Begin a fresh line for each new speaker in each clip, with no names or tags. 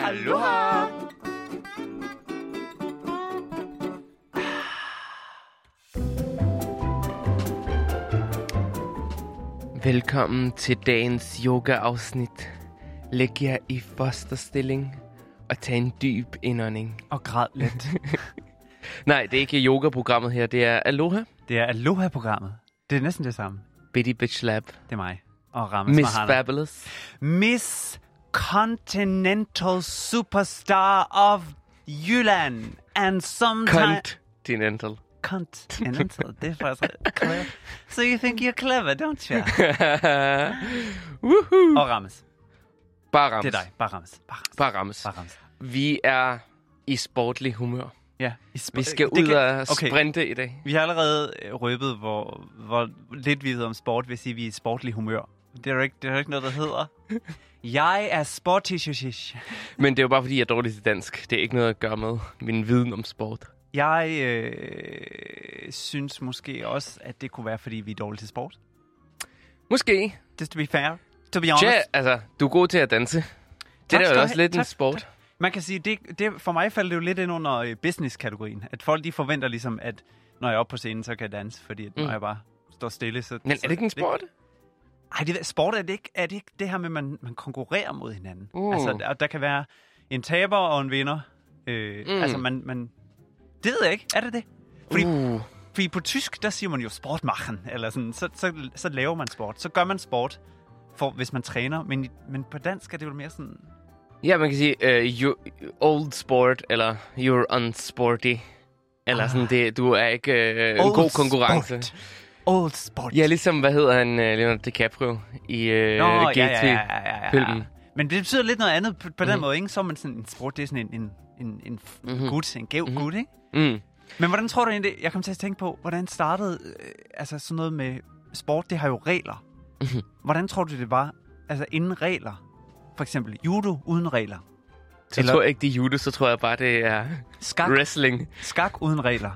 Aloha! Velkommen til dagens yoga-afsnit. Læg jer i fosterstilling og tag en dyb indånding.
Og græd lidt.
Nej, det er ikke yoga-programmet her, det er Aloha,
Det er Aloha-programmet. Det er næsten det samme.
Bitty Bitch Lab,
Det er mig. Og Rammes
Miss
Mahana.
Fabulous.
Miss Continental Superstar of Jylland. And sometimes...
Continental.
Continental. Det er faktisk clever. So you think you're clever, don't you?
Woohoo!
Og Rammes.
Bare rams.
Det er dig. Bare Rammes. Bare Rammes.
Bare rams.
Bare Rammes.
Vi er i sportlig humør.
Ja. I sp-
Vi skal
Øh, det
ud
kan-
og
Okay.
sprinte i dag.
Vi har allerede øh, røbet, hvor, hvor lidt vi ved om sport, hvis I vi er i sportlig humør. Det er jo ikke, det er jo ikke noget, der hedder. Jeg er sporty shishish.
Men det er jo bare, fordi jeg er dårlig til dansk. Det er ikke noget at gøre med min viden om sport.
Jeg øh, synes måske også, at det kunne være, fordi vi er dårlige til sport.
Måske.
Just to be fair. To be
Ja,
honest.
altså, du er god til at danse. Det der er
skal
jo
du
også
have.
lidt en
Tak,
sport.
Man kan sige, det, det, for mig faldt det jo lidt ind under øh, business-kategorien. At folk de forventer ligesom, at når jeg er oppe på scenen, så kan jeg danse, fordi at, når
Mm.
jeg bare står stille, så...
Men er det ikke en sport?
Ej, det, sport er det, ikke, er det ikke det her med, at man, man konkurrerer mod hinanden.
Uh.
Altså, der, der kan være en taber og en vinder. Øh,
Mm.
Altså, man, man... Det ved jeg ikke. Er det det? Fordi, uh.
Uh,
fordi på tysk, der siger man jo sportmachen, eller sådan. Så, så, så laver man sport. Så gør man sport, for, hvis man træner. Men, i- men på dansk er det jo mere sådan...
ja, man kan sige, uh, you, old sport, eller you're unsporty. Eller sådan, det, du er ikke uh, en
Ah. old
god konkurrence.
Sport. Old sport.
Ja, ligesom, hvad hedder han, uh, Leonardo DiCaprio i uh, GT. filmen.
Men det betyder lidt noget andet på, på
Mhm.
mm. den måde, ikke? Så er man sådan en sport, det er sådan en, en, en, en mm-hmm. gut, en gæv mm-hmm. gut, ikke?
Mm.
Men hvordan tror du egentlig, jeg kom til at tænke på, hvordan startede, øh, altså sådan noget med sport, det har jo regler.
Mhm.
Hvordan tror du, det var, altså inden regler? For eksempel judo uden regler.
Så
Eller-
tror jeg ikke, det er judo, så tror jeg bare, det er
Skak,
wrestling.
skak uden regler.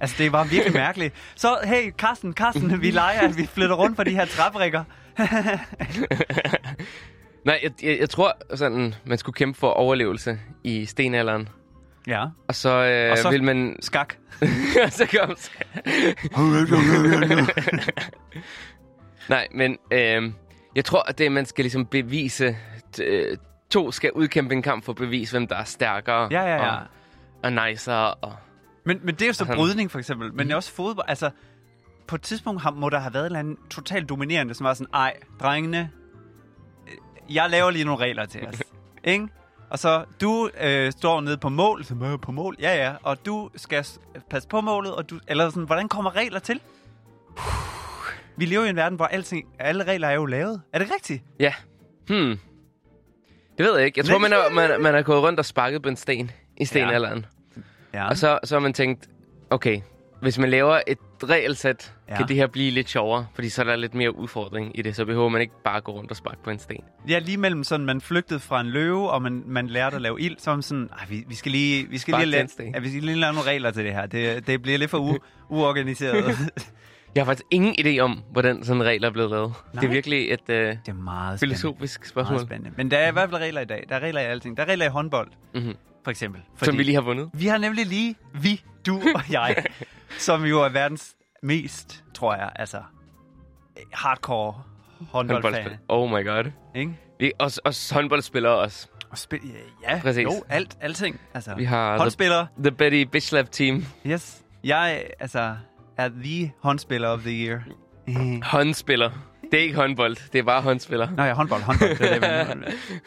Altså, det var virkelig mærkeligt. Så, hey, Carsten, Carsten, vi leger, at vi flytter rundt på de her træbrikker.
Nej, jeg, jeg, jeg tror sådan, man skulle kæmpe for overlevelse i stenalderen.
Ja,
Og så, øh, og
Og
så...
så-
vil man...
skak.
så kom... Nej, men øh, jeg tror, at det, man skal ligesom bevise... T- øh, to skal udkæmpe en kamp for at bevise, hvem der er stærkere
Ja, ja, ja.
Og, og nicere. Og...
Men, men det er jo så
Altså-
brydning, for eksempel. Men også fodbold. Altså, på et tidspunkt har, må der have været en eller anden totalt dominerende, som var sådan, ej, drengene, øh, jeg laver lige nogle regler til os. Ikke? Og så, du øh, står nede på mål, så "Hvad, på mål, ja ja, og du skal s- passe på målet, og du, eller sådan, hvordan kommer regler til? Vi lever i en verden, hvor alting, alle regler er jo lavet. Er det rigtigt?
Ja. Hmm. Det ved jeg ikke. Jeg tror,
Men-
man har, man, man har gået rundt og sparket på en sten i stenalderen.
Ja.
Og så, så har man tænkt, okay, hvis man laver et regelsæt, ja.
Ja.
kan det her blive lidt sjovere, fordi så er der lidt mere udfordring i det, så behøver man ikke bare gå rundt og sparke på en sten.
Ja, lige mellem sådan, man flygtede fra en løve, og man, man lærte at lave ild, så var man sådan, "Ej, vi, vi skal lige, vi skal
Bare
lige, lave,
tændstik."
ja, vi skal lige lave nogle regler til det her. Det, det bliver lidt for u- uorganiseret.
Jeg har faktisk ingen idé om, hvordan sådan regler er blevet lavet. Nej. Det er
Nej.
virkelig et øh,
det er meget spændende.
filosofisk
meget
spørgsmål,
spændende. Men der er i hvert fald regler i dag. Der er regler i alting. Der er regler i håndbold,
Mhm.
for eksempel. Fordi
som vi lige har vundet.
vi har nemlig lige, vi, du og jeg, som jo er verdens mest, tror jeg, altså hardcore håndboldfan.
Håndboldspil. Oh my god.
Ikke?
Vi, os, os håndboldspillere også.
Og spil, ja, ja
Præcis.
jo, alt, alting. Altså,
Vi har
håndspillere,
The Betty Bitchlap Team.
Yes. Jeg altså, er the håndspiller of the year.
Håndspiller. Det er ikke håndbold, det er bare håndspiller.
Nå ja, håndbold, håndbold. Det er det, jeg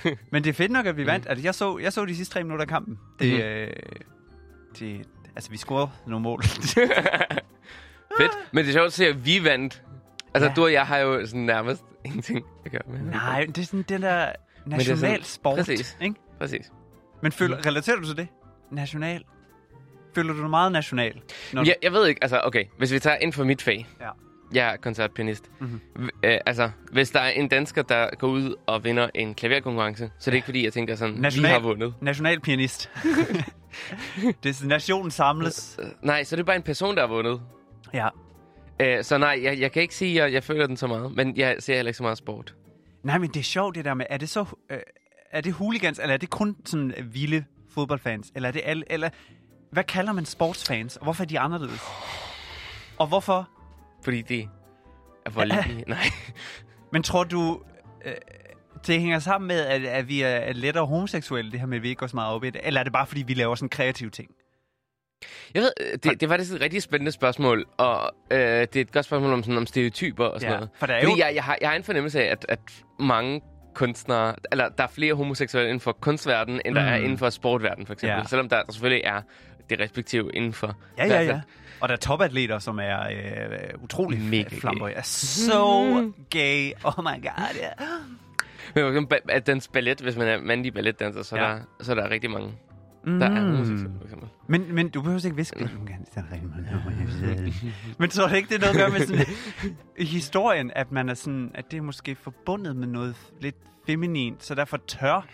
mener. Men det er fedt nok, at vi vandt. Altså, jeg, så, jeg så de sidste tre minutter af kampen. Det,
Mhm.
øh, det, altså, vi scorede nogle mål.
Fedt. Men det er sjovt at se, at vi vandt. Altså, ja.
Ja.
du og jeg har jo sådan nærmest ingenting at gøre med.
Nej, det er sådan den der
sådan-
national sport.
præcis. Mhm.
Ikke?
Præcis.
Men føler, relaterer du til det? National? Føler du dig meget national? Når du-
Jeg, jeg ved ikke, altså okay, hvis vi tager ind for mit fag.
Ja.
Jeg er koncertpianist.
Mhm.
Mm-hmm. Øh, altså, hvis der er en dansker, der går ud og vinder en klaverkonkurrence, så er det ikke fordi, jeg tænker sådan, vi
National-
har vundet.
National pianist. det er sådan, nationen samles.
Øh, Nej, så er det bare en person, der har vundet.
Ja.
Øh, så nej, jeg, jeg kan ikke sige, at jeg, jeg føler den så meget, men jeg ser heller ikke så meget sport.
Nej, men det er sjovt det der med, er det så... Øh, er det hooligans, eller er det kun sådan vilde fodboldfans? Eller er det alle, eller hvad kalder man sportsfans? Og hvorfor er de anderledes? Og hvorfor?
Fordi det er voldelige. Nej.
Men tror du, øh, det hænger sammen med, at, at vi er lettere homoseksuelle, det her med, at vi ikke går så meget op i det? Eller er det bare, fordi vi laver sådan kreative ting?
Jeg ved, øh, det, det var faktisk et rigtig spændende spørgsmål, og øh, det er et godt spørgsmål om, sådan, om stereotyper og sådan
Ja,
noget.
for der er
Fordi
jo-
jeg, jeg, har, jeg har en fornemmelse af, at, at mange kunstnere, eller der er flere homoseksuelle inden for kunstverdenen, end der er
Mm.
inden for sportverdenen for eksempel.
Ja.
Selvom der, der selvfølgelig er det respektive inden for...
Ja,
i
ja,
hvert
ja.
fald-
Og der er topatleter, som er øh, utrolig
Mega
Mega
gay.
flamboy. Er så gay. Oh my god, yeah.
Men for eksempel, ba- at dens ballet, hvis man er mandlig balletdanser, så,
Ja.
ja. der, så er der rigtig mange, der mm. er homoseksuelle for eksempel.
Men, men du behøver ikke viske. det. Du kan gerne sige, "Der er rigtig mange." men tror du ikke, det er noget at gøre med sådan, i historien, at man er sådan, at det er måske forbundet med noget lidt feminint, så derfor tør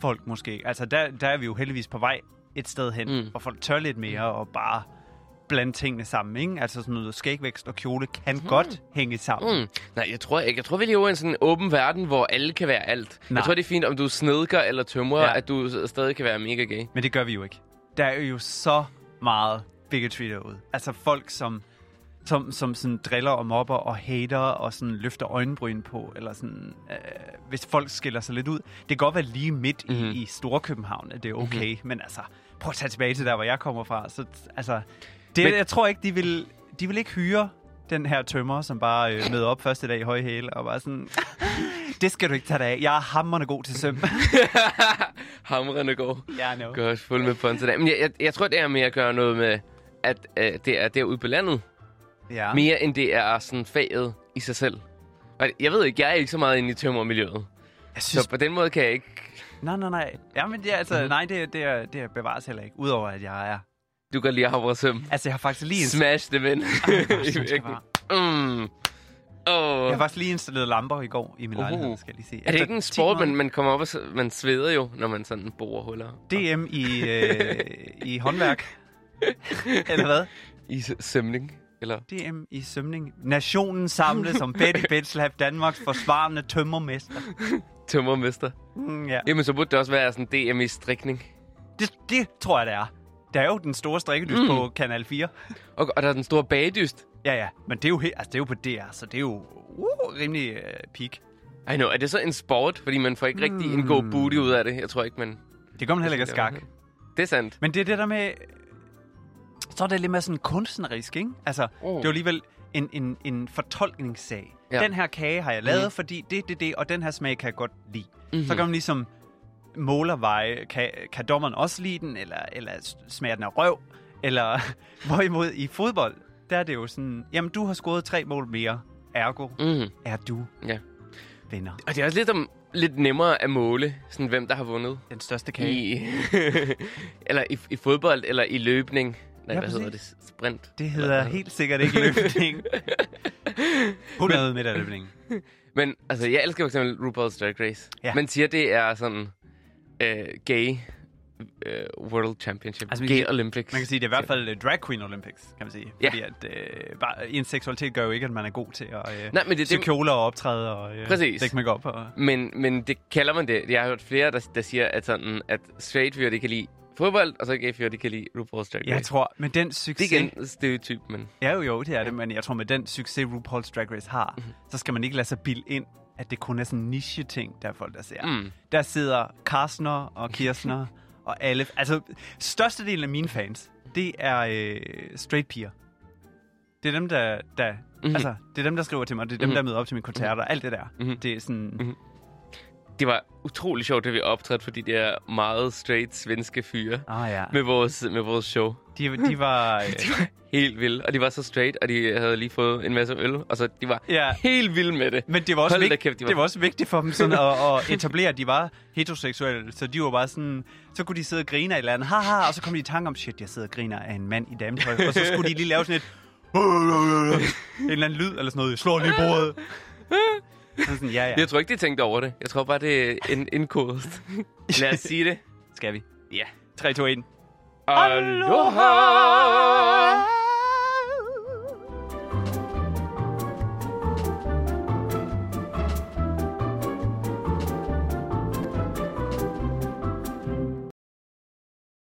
folk måske. Altså, der, der er vi jo heldigvis på vej et sted hen, mm.
Mm.
hvor folk tør lidt mere og bare blande tingene sammen, ikke? Altså sådan noget skægvækst og kjole kan mm. godt hænge sammen.
Mm. Nej, jeg tror ikke. Jeg tror, vi lever i en sådan åben verden, hvor alle kan være alt.
Nej.
Jeg tror, det er fint, om du er snedker eller tømrer,
Ja.
ja. at du stadig kan være mega gay.
Men det gør vi jo ikke. Der er jo så meget bigotry derude. Altså folk, som, som, som sådan driller og mobber og hater og sådan løfter øjenbryn på, eller sådan, øh, hvis folk skiller sig lidt ud. Det kan godt være lige midt i, mm-hmm. i Storkøbenhavn, at det er okay, mm-hmm. men altså, prøv at tage tilbage til der, hvor jeg kommer fra. Så, t- altså, det, men...
Men-
jeg tror ikke, de vil, de vil ikke hyre den her tømmer, som bare øh, møder op første dag i høje hæle, og bare sådan, det skal du ikke tage dig af. Jeg er hammerne god til søm.
Hamrende god.
yeah, no.
Godt, fuld med ponds i dag. Men jeg, jeg, jeg tror, det er mere at gøre noget med, at øh, det er derude på landet.
Ja.
Mere end det er sådan faget i sig selv. Og jeg ved ikke, jeg er ikke så meget inde i tømmermiljøet.
Jeg synes
Så på den måde kan jeg ikke...
Nej, nej, nej. Ja, men det er altså, mm-hmm.
Mhm.
nej, det, er- det, er- det er bevares heller ikke, udover at jeg er.
Du kan lige have vores søm.
Altså, jeg har faktisk lige, inst-
Smash dem ind.
jeg synes, det var-
mm. oh.
jeg har faktisk lige installeret lamper i går i min
Uhu.
lejlighed, skal jeg lige se.
Uhuh.
Altså,
Er det ikke en sport, man, man kommer op og s- man sveder jo, når man sådan borer huller
DM i, øh, i håndværk. Eller hvad?
i s- sømning? Eller?
DM i sømning. Nationen samles som Betty Betslap, Danmarks forsvarende tømmermester.
Tømmermester.
Mm, ja.
Jamen, så burde det også være sådan DM i strikning.
det, det tror jeg, det er. Der er jo den store strikkelys mm.
Mm.
på Kanal 4.
Og, og der er den store bagdyst.
Ja, ja. Men det er jo, he- altså, det er jo på DR, så det er jo uh, rimelig øh, peak.
I know, er det så en sport? Fordi man får ikke rigtig en god booty ud af det. Jeg tror ikke, man...
Det kommer heller ikke af Hmm. skak.
Det er sandt.
Men det er det der med... Så er det lidt mere sådan kunstnerisk, ikke? Altså, oh.
Oh.
det er jo alligevel en, en, en fortolkningssag. Ja.
Ja.
Den her kage har jeg lavet, mm.
Mhm.
fordi det, det, det, og den her smag kan jeg godt lide. Mm-hmm.
Mhm.
Så kan man ligesom måler veje, kan, kan dommeren også lide den, eller, eller s- smager den af røv, eller hvorimod i fodbold, der er det jo sådan, jamen du har scoret tre mål mere, ergo
Mm.
er du
Ja.
vinder.
Og det er også lidt, om, lidt nemmere at måle, sådan, hvem der har vundet.
Den største kage. I...
I, eller i, i fodbold, eller i løbning. Nej,
Ja,
ja, hvad hedder det?
præcis.
Sprint.
Det
Eller
hedder
hvad
helt sikkert ikke løftning. 100 meter løftning.
Men altså, jeg elsker for eksempel RuPaul's Drag Race.
Ja.
Ja. Man siger, det er sådan øh, gay øh, World Championship.
Altså,
Altså,
man
gay
kan sige-
Olympics.
Man kan sige, det er i hvert fald øh, drag queen Olympics, kan man sige.
Ja.
Fordi at øh, bare, ens seksualitet gør jo ikke, at man er god til at øh,
Nej, men det er
se
det-
kjoler og optræde og øh,
Præcis.
dække makeup og...
Men, men det kalder man det. Jeg har hørt flere, der, der siger, at, sådan, at straight fyre, de kan lide fodbold, og så gay fyre, de kan lide RuPaul's Drag Race.
Jeg tror, med den
det
succes...
er igen en stereotyp, men...
Ja, jo, jo, det er det, men jeg tror, med den succes, RuPaul's Drag Race har,
Mhm.
så skal man ikke lade sig bilde ind, at det kun er sådan en niche-ting, der er folk, der ser.
Mm.
Der sidder Karstner og Kirstner og alle... Altså, størstedelen af mine fans, det er øh, straight piger. Det er dem, der, der mm-hmm.
Mhm.
altså, det er dem, der skriver til mig, det er dem,
Mhm.
der møder op til mine koncerter, mm-hmm. alt det der. Mm-hmm.
Mhm.
Det er sådan...
Det var utrolig sjovt, det vi optrådte for de der meget straight svenske fyre
Ah ja,
med vores, med vores show.
de, de var... øh,
De var helt vilde, og de var så straight, og de havde lige fået en masse øl, og så de var
Ja.
ja. helt vilde med det.
men det var, også
Hold da
vigt,
kæft, de var-
det var også vigtigt for dem sådan at, at etablere, at de var heteroseksuelle. Så de var bare sådan, så kunne de sidde og grine af et eller andet, haha, og så kom de i tanke om, shit, jeg sidder og griner af en mand i dametøj. Og så skulle de lige lave sådan et, en eller anden lyd eller sådan noget, slå lige i bordet. Så sådan, ja, ja,
Jeg tror ikke, de tænkte over det. Jeg tror bare, det er en indkodet. Lad os sige det.
skal vi.
Ja.
3, 2, 1.
Aloha!